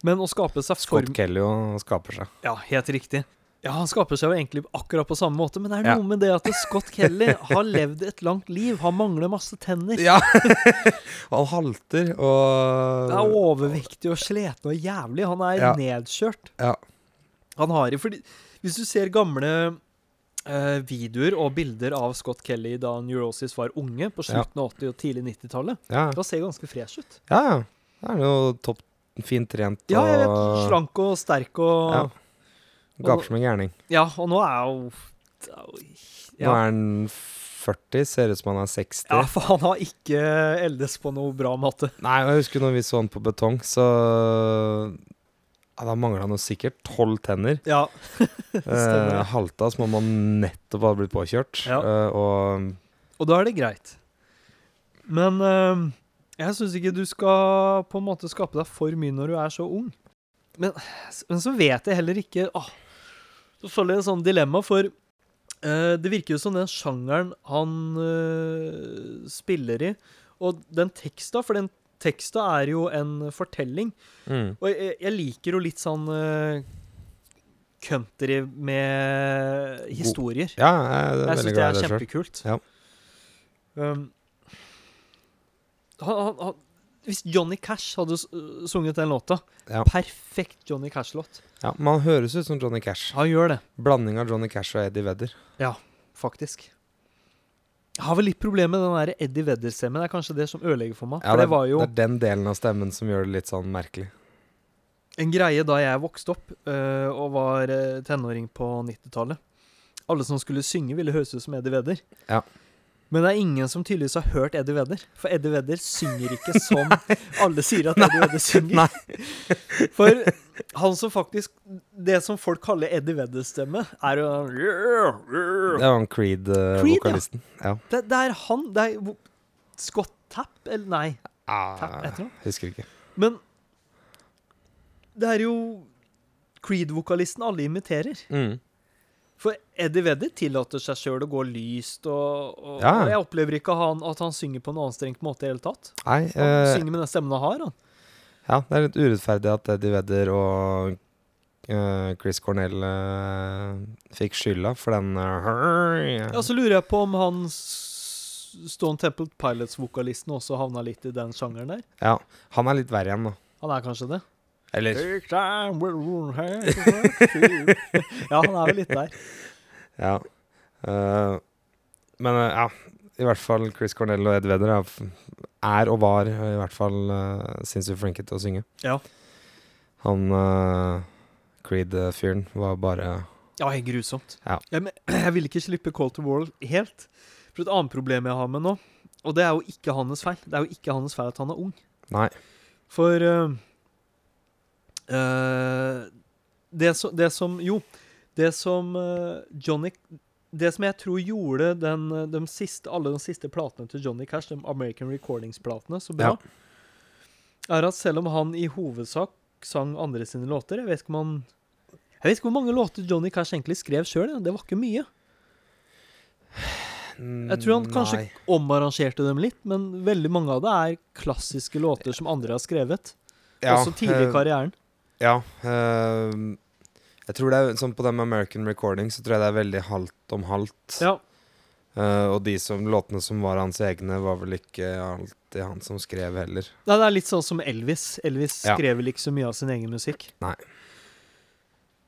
S1: Men å skape seg
S2: Scott
S1: form
S2: Kelly jo skaper seg.
S1: Ja, helt riktig. Ja, han skaper seg jo egentlig akkurat på samme måte, men det er
S2: Ja.
S1: noe med det at Scott Kelly har levd et langt liv. Han mangler masse tenner.
S2: Ja! han halter og
S1: Han er overvektig og sliten og jævlig. Han er
S2: Ja.
S1: nedkjørt.
S2: Ja.
S1: Han har i fordi Hvis du ser gamle eh, videoer og bilder av Scott Kelly da Neurosis var unge, på
S2: Ja.
S1: slutten av 80- og tidlig 90-tallet,
S2: Ja,
S1: da ser han ganske fresh ut.
S2: ja. ja. Da er han jo topp fint trent
S1: Ja, jeg vet,
S2: og
S1: slank og sterk og ja.
S2: Ja. gaper som en gærning.
S1: og nå er jo
S2: Nå
S1: ja.
S2: er han 40, ser ut som han er 60.
S1: ja, for han har ikke eldes på noe bra måte.
S2: Nei, og jeg husker når vi så han på betong, så ja, Da mangla han jo sikkert tolv tenner.
S1: Ja. Stemmer det.
S2: Eh, halta som om han nettopp hadde blitt påkjørt.
S1: Ja.
S2: Eh, og
S1: Og da er det greit. Men eh, jeg syns ikke du skal på en måte skape deg for mye når du er så ung. Men, men så vet jeg heller ikke åh, Så føler jeg et sånt dilemma, for eh, det virker jo som den sjangeren han eh, spiller i, og den teksta, for den teksta er jo en fortelling.
S2: mm.
S1: Og jeg, jeg liker jo litt sånn eh, country med historier.
S2: Ja, jeg er
S1: Jeg
S2: veldig
S1: syns det
S2: glad
S1: er
S2: i det sjøl.
S1: kjempekult.
S2: Ja.
S1: Um, han, han, han, hvis Johnny Cash hadde s- øh, sunget den låta
S2: Ja.
S1: Perfekt Johnny Cash-låt.
S2: Ja, men han høres ut som Johnny Cash.
S1: Han gjør det,
S2: Blanding av Johnny Cash og Eddie Vedder.
S1: faktisk. Jeg har vel litt problemer med den der Eddie Vedder-stemmen. Det er kanskje det som ødelegger for meg.
S2: Ja,
S1: for det,
S2: er-
S1: var jo
S2: det er den delen av stemmen som gjør det litt sånn merkelig.
S1: en greie da jeg vokste opp øh, og var øh, tenåring på 90-tallet. Alle som skulle synge, ville høres ut som Eddie Vedder.
S2: Ja.
S1: Men det er ingen som tydeligvis har hørt Eddie Vedder. For Eddie Vedder synger ikke som alle sier at Eddie Vedder synger. For han som faktisk Det som folk kaller Eddie Vedder-stemme, er jo
S2: Det
S1: det,
S2: var han
S1: Creed, ja.
S2: Creed-vokalisten. ja.
S1: det er han. Det er vo- Scott Tapp, eller nei, Tapp
S2: Ah,
S1: heter han.
S2: husker ikke.
S1: Men det er jo Creed-vokalisten alle imiterer.
S2: Mm.
S1: For Eddie Vedder tillater seg sjøl å gå lyst, og, og,
S2: Ja.
S1: og jeg opplever ikke han, at han synger på en anstrengt måte i det hele tatt.
S2: Nei,
S1: Han
S2: eh,
S1: synger med den stemmen han har, han.
S2: ja, det er litt urettferdig at Eddie Vedder og eh, Chris Cornell eh, fikk skylda for den eh,
S1: Ja, så lurer jeg på om han s- Stone Temple Pilots-vokalisten også havna litt i den sjangeren der.
S2: ja. Han er litt verre igjen, da.
S1: Han er kanskje det?
S2: Eller
S1: Take time, we'll run here. ja, han er vel litt der.
S2: Ja. Eh, men eh, ja, i hvert fall Chris Cornell og Ed Vedder er, er og var eh, i hvert fall uh, sinnssykt flinke til å synge.
S1: Ja.
S2: Han eh, Creed-fyren var bare
S1: Ja, helt grusomt.
S2: Ja.
S1: Jeg, men, jeg vil ikke slippe Call to Wall helt. For et annet problem jeg har med nå, og det er jo ikke hans feil. Det er jo ikke hans feil at han er ung.
S2: Nei.
S1: For eh, eh, det, som- det som Jo, det som eh, Johnny Det som jeg tror gjorde den, eh, de siste, alle de siste platene til Johnny Cash, de American Recordings-platene, så bra, er at selv om han i hovedsak sang andre sine låter Jeg vet ikke om han jeg vet ikke hvor mange låter Johnny Cash egentlig skrev sjøl. Det var ikke mye. Jeg tror han kanskje
S2: Nei.
S1: omarrangerte dem litt, men veldig mange av det er klassiske låter som andre har skrevet.
S2: Ja,
S1: også tidlig i
S2: eh,
S1: karrieren.
S2: Ja. eh, jeg tror det er sånn på dem American Recording så tror jeg det er veldig halvt om halvt.
S1: Ja,
S2: Eh, og de som, låtene som var hans egne, var vel ikke alltid han som skrev heller.
S1: Nei, det er litt sånn som Elvis. Elvis
S2: Ja.
S1: skrev vel ikke så mye av sin egen musikk.
S2: Nei.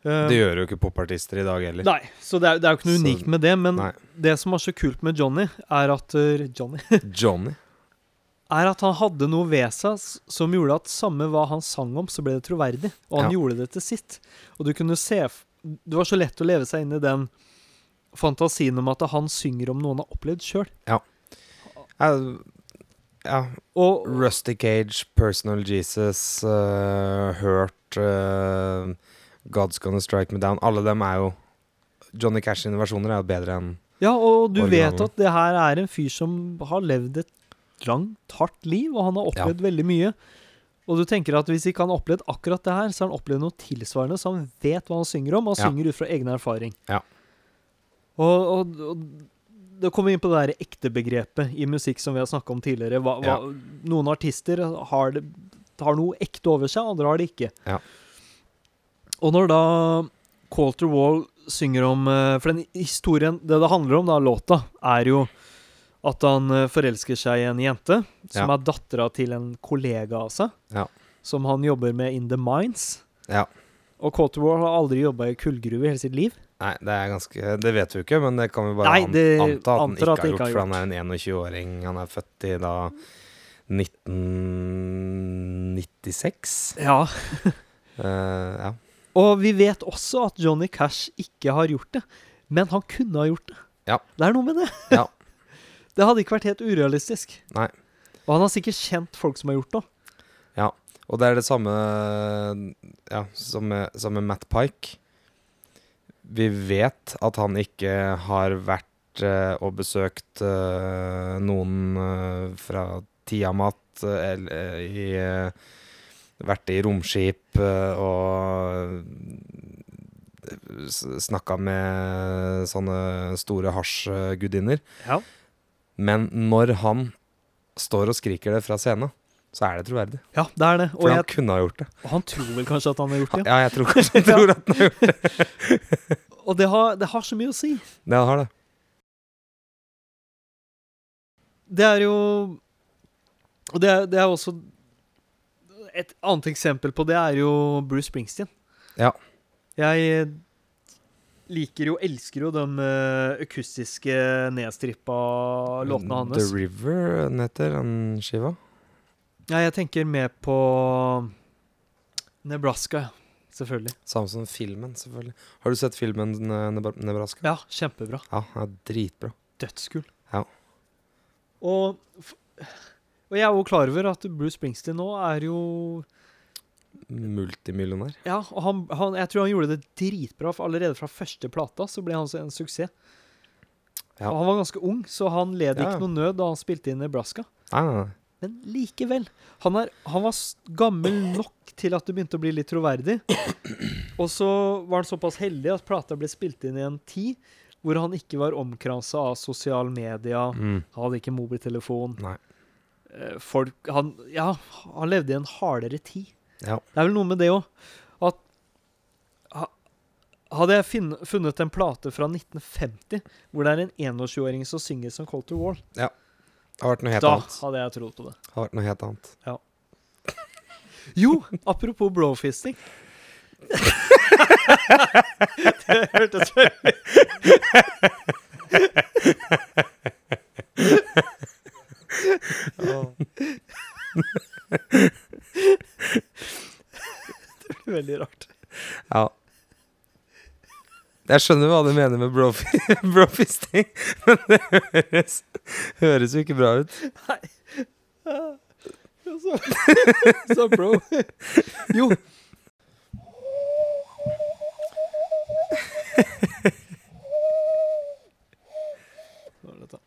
S1: Eh,
S2: Det gjør jo ikke popartister i dag heller.
S1: Nei, så det er, det er jo ikke noe
S2: Så-
S1: unikt med det, men
S2: Nei.
S1: det som var så kult med Johnny, er at eh, Johnny
S2: Johnny.
S1: er at han hadde noe ved seg s- som gjorde at samme hva han sang om, så ble det troverdig. Og han
S2: Ja.
S1: gjorde det til sitt. Og du kunne se f- Det var så lett å leve seg inn i den fantasien om at han synger om noe han har opplevd sjøl.
S2: Eh, ja,
S1: Og
S2: Rusty Cage, Personal Jesus, eh, Hurt, eh, God's Gonna Strike Me Down. Alle dem er jo Johnny Cash sine versjoner er jo bedre enn
S1: Ja, og du vet
S2: Originalen.
S1: at det her er en fyr som har levd et langt, hardt liv, og han har opplevd veldig mye. Og du tenker at hvis ikke han har opplevd akkurat det her, så har han opplevd noe tilsvarende, så han vet hva han synger om, og han
S2: Ja.
S1: synger ut fra egen erfaring.
S2: Ja.
S1: Og, og, og det kommer inn på det der ekte begrepet i musikk som vi har snakka om tidligere. Hva, hva,
S2: Ja.
S1: Noen artister har, det, har noe ekte over seg, andre har det ikke.
S2: Ja.
S1: Og når da Coulter Wall synger om eh, For den historien, det det handler om, da, låta, er jo at han eh, forelsker seg i en jente som
S2: Ja.
S1: er dattera til en kollega av seg,
S2: Ja.
S1: som han jobber med in the mines.
S2: Ja.
S1: Og Coulter Wall har aldri jobba i kullgruve i hele sitt liv.
S2: Nei, det er ganske Det vet vi jo ikke, men det kan vi bare
S1: Nei,
S2: an-
S1: det-
S2: anta at han
S1: antar
S2: ikke
S1: at
S2: har
S1: det
S2: gjort,
S1: ikke har
S2: for han er en 21-åring. Han er født i da 1996.
S1: Ja.
S2: Eh, ja.
S1: Og vi vet også at Johnny Cash ikke har gjort det, men han kunne ha gjort det.
S2: Ja.
S1: Det er noe med det.
S2: Ja.
S1: det hadde ikke vært helt urealistisk.
S2: Nei.
S1: Og han har sikkert kjent folk som har gjort det.
S2: Og det er det samme Ja, som med, som med Matt Pike. Vi vet at han ikke har vært eh, og besøkt eh, noen eh, fra Tiamat eh, eller eh, i eh, Vært i romskip eh, og snakka med sånne store hasjgudinner.
S1: Ja.
S2: Men når han står og skriker det fra scenen, så er det troverdig.
S1: Ja, det er det.
S2: For
S1: Og
S2: han
S1: jeg,
S2: kunne ha gjort det.
S1: og han tror vel kanskje at han har gjort det.
S2: Ja, jeg tror kanskje jeg tror at den har gjort det.
S1: Og det har, det har så mye å si.
S2: Den har det.
S1: Det er jo Og det er, det er også Et annet eksempel på det er jo Bruce Springsteen.
S2: Ja.
S1: Jeg liker jo, elsker jo de eh, akustiske nedstrippa låtene hans.
S2: Mm, The River den heter den skiva.
S1: Ja, jeg tenker mer på Nebraska, ja. selvfølgelig.
S2: Samme som filmen, selvfølgelig. Har du sett filmen eh, Nebra- Nebraska?
S1: Ja, kjempebra.
S2: Ja, den er dritbra.
S1: Dødskul.
S2: Ja.
S1: Og, f- og jeg er jo klar over at Bruce Springsteen nå er jo
S2: Multimillionær.
S1: Ja, og han, han, jeg tror han gjorde det dritbra, for allerede fra første plata så ble han så en suksess.
S2: Ja.
S1: Og han var ganske ung, så han led
S2: Ja.
S1: ikke noe nød da han spilte inn Nebraska.
S2: Nei, nei, nei.
S1: Men likevel. Han, er, han var s- gammel nok til at det begynte å bli litt troverdig. Og så var han såpass heldig at plata ble spilt inn i en tid hvor han ikke var omkransa av sosiale media.
S2: Mm.
S1: Han hadde ikke mobiltelefon.
S2: Nei.
S1: Eh, Folk han, Ja, han levde i en hardere tid.
S2: Ja.
S1: Det er vel noe med det òg. At ha- Hadde jeg finn, funnet en plate fra 1950 hvor det er en 21-åring som synger som Colter Wall,
S2: Det har vært noe helt
S1: da
S2: annet.
S1: hadde jeg trodd på det.
S2: Det har vært noe helt annet.
S1: Jo, apropos blowfisting. det hørtes veldig Veldig rart.
S2: Ja. Jeg skjønner hva du mener med brofi- brofisting, men det høres, høres jo ikke bra ut.
S1: Så, så bro. Jo. Hva er dette?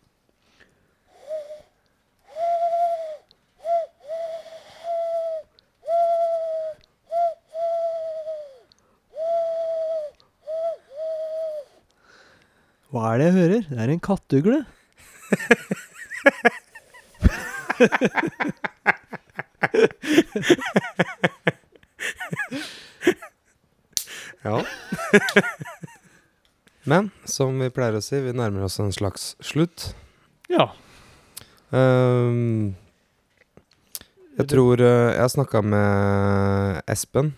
S1: Hva er det jeg hører? Det er en kattugle.
S2: Ja. Men som vi pleier å si, vi nærmer oss en slags slutt.
S1: Ja.
S2: Ehm, jeg tror eh, jeg snakka med Espen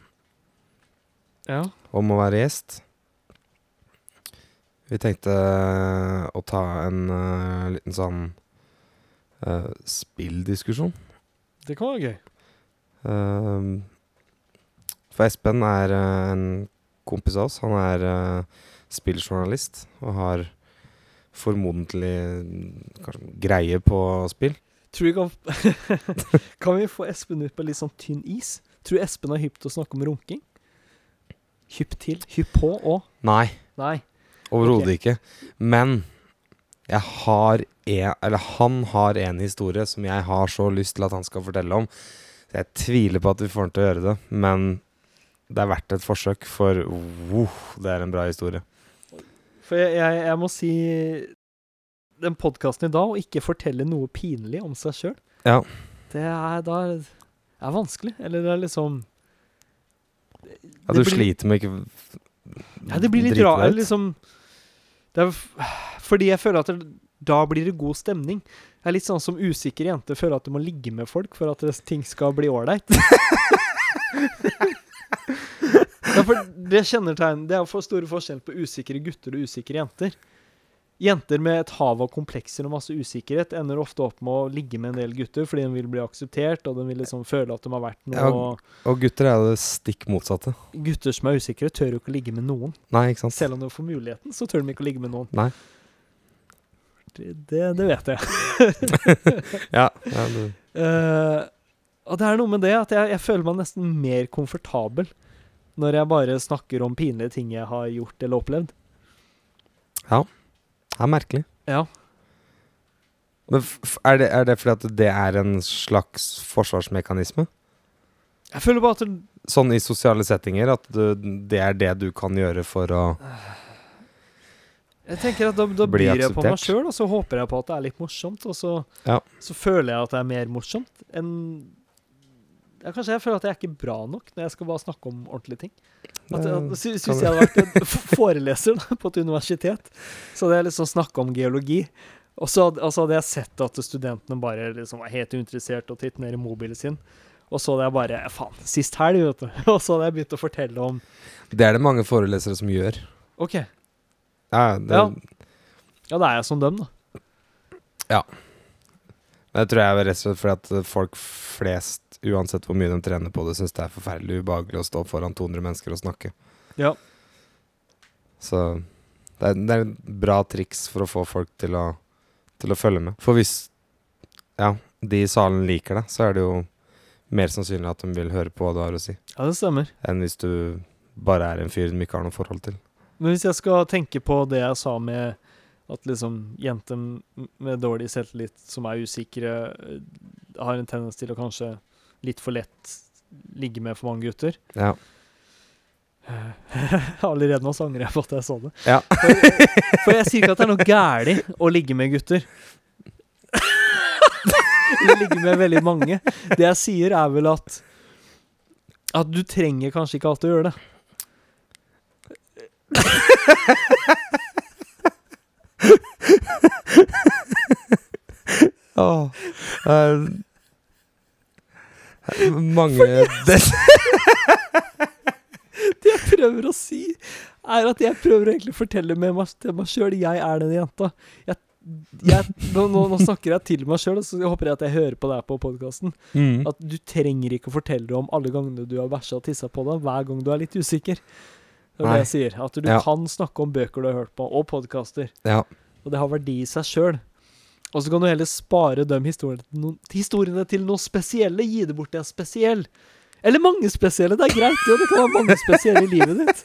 S1: Ja.
S2: om å være gjest. Vi tenkte å ta en eh, liten sånn eh, spilldiskusjon.
S1: Det kan være gøy.
S2: Ehm, for Espen er eh, en kompis av oss. Han er eh, spilljournalist og har formodentlig mm, kanskje greie på spill.
S1: Tror vi kan Kan vi få Espen ut på litt sånn tynn is? Tror du Espen er hypp til å snakke om runking? Hypp til? Hypp på og
S2: Nei,
S1: Nei.
S2: overhodet ikke. Men jeg har en, eller han har en historie som jeg har så lyst til at han skal fortelle om. Så jeg tviler på at vi får han til å gjøre det, men det er verdt et forsøk, for wow, det er en bra historie.
S1: For jeg, jeg, jeg må si den podkasten i dag, å ikke fortelle noe pinlig om seg sjøl,
S2: Ja.
S1: det er da er, det er vanskelig. Eller det er liksom
S2: Ja,
S1: Det
S2: du
S1: blir-
S2: sliter med ikke
S1: Ja, det blir litt
S2: drite
S1: rart.
S2: deg ut.
S1: Liksom, det er f- fordi jeg føler at det, da blir det god stemning. Jeg er litt sånn som usikre jenter føler at du må ligge med folk for at det- ting skal bli ålreit. ja, for det kjennetegn Det er for store forskjell på usikre gutter og usikre jenter. Jenter med et hav av komplekser og masse usikkerhet ender ofte opp med å ligge med en del gutter fordi de vil bli akseptert, og de vil liksom føle at de har vært noe.
S2: Ja.
S1: og
S2: Og gutter er jo det stikk motsatte.
S1: Gutter som er usikre, tør jo ikke å ligge med noen.
S2: Nei, ikke sant?
S1: Selv om de får muligheten, så tør de ikke å ligge med noen.
S2: Nei.
S1: Det, det, det vet jeg.
S2: Ja, ja, du.
S1: Eh, og det er noe med det at jeg, jeg føler meg nesten mer komfortabel når jeg bare snakker om pinlige ting jeg har gjort eller opplevd.
S2: det er merkelig.
S1: Ja.
S2: Men f f- er, det, er det fordi at det er en slags forsvarsmekanisme?
S1: Jeg føler bare at det,
S2: Sånn i sosiale settinger, at du, det er det du kan gjøre for å
S1: jeg tenker at da, da
S2: Bli
S1: byr jeg på meg
S2: akseptert.
S1: sjøl, og så håper jeg på at det er litt morsomt, og så,
S2: Ja.
S1: så føler jeg at det er mer morsomt enn ja, Kanskje jeg føler at jeg er ikke bra nok når jeg skal bare snakke om ordentlige ting. At, at,
S2: Eh,
S1: sy-
S2: kan
S1: Syns jeg hadde vært en f- foreleser da, på et universitet, så hadde jeg liksom snakka om geologi. Og så hadde, og så hadde jeg sett at studentene bare liksom var helt uinteressert og tittet ned i mobilen sin. Og så hadde jeg bare Faen, sist helg, vet du. Og så hadde jeg begynt å fortelle om
S2: Det er det mange forelesere som gjør.
S1: OK, ja,
S2: Ja, det,
S1: Ja. da er jeg som dem, da.
S2: Det tror jeg er rett og slett fordi at folk flest, uansett hvor mye de trener på det, syns det er forferdelig ubehagelig å stå foran 200 mennesker og snakke.
S1: Ja.
S2: Så det er, det er et bra triks for å få folk til å, til å følge med. For hvis ja, de i salen liker det, så er det jo mer sannsynlig at de vil høre på hva du har å si,
S1: Ja, det stemmer.
S2: enn hvis du bare er en fyr de ikke har noe forhold til.
S1: Men hvis jeg skal tenke på det jeg sa med at liksom jenter med dårlig selvtillit som er usikre, eh, har en tendens til å kanskje litt for lett ligge med for mange gutter.
S2: Ja.
S1: Allerede nå så angrer jeg på at jeg sa det.
S2: Ja.
S1: For, for jeg sier ikke at det er noe gæli å ligge med gutter. Eller ligge med veldig mange. Det jeg sier, er vel at At du trenger kanskje ikke alltid å gjøre det.
S2: Eh, mange des
S1: Det jeg prøver å si, er at jeg prøver egentlig å fortelle med meg, til meg sjøl jeg er den jenta. Jeg, jeg, nå, nå, nå snakker jeg til meg sjøl, og så håper jeg at jeg hører på det her på podkasten.
S2: Mm.
S1: At du trenger ikke å fortelle om alle gangene du har bæsja og tissa på deg, hver gang du er litt usikker. Det er
S2: Nei.
S1: det jeg sier. At du
S2: Ja.
S1: kan snakke om bøker du har hørt på, og podkaster.
S2: Ja.
S1: Og det har verdi i seg sjøl. Og så kan du heller spare de historiene til, noen, historiene til noe spesielle. Gi det bort til en spesiell. Eller mange spesielle. Det er greit, jo. Det kan være mange spesielle i livet ditt.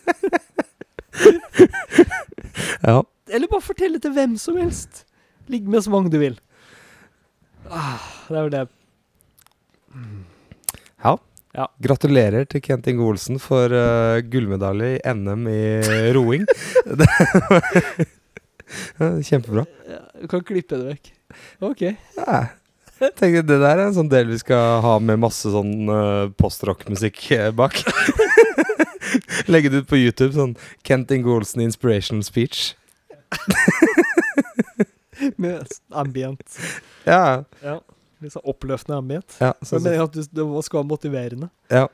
S2: ja.
S1: Eller bare fortelle til hvem som helst. Ligg med så mange du vil. Ah, det er vel det.
S2: Ja.
S1: Ja.
S2: Gratulerer til Kent Inge Olsen for eh, gullmedalje i NM i roing. Det var- Kjempebra.
S1: Ja, Du kan klippe det vekk. OK.
S2: Ja. Jeg tenkte Det der er en sånn del vi skal ha med masse sånn uh, postrock-musikk eh, bak. Legge det ut på YouTube. Sånn Kent Inge Olsen inspiration speech.
S1: Med s- ambient.
S2: Ja,
S1: Ja. Litt sånn oppløftende ambient.
S2: ja,
S1: Så
S2: så,
S1: jeg mener at du, det må- skal være motiverende.
S2: ja.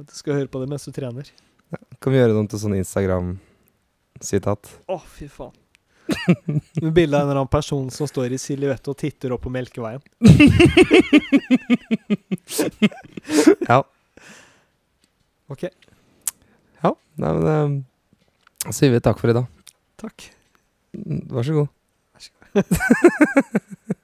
S1: At du skal høre på det mens du trener.
S2: Kan vi gjøre det om til sånn Instagram-sitat?
S1: Å, fy faen. Med bilde av en eller annen person som står i silhuett og titter opp på Melkeveien.
S2: Ja.
S1: OK.
S2: Ja, nei, men eh, Da sier vi takk for i dag.
S1: Takk.
S2: Mm, Vær så god.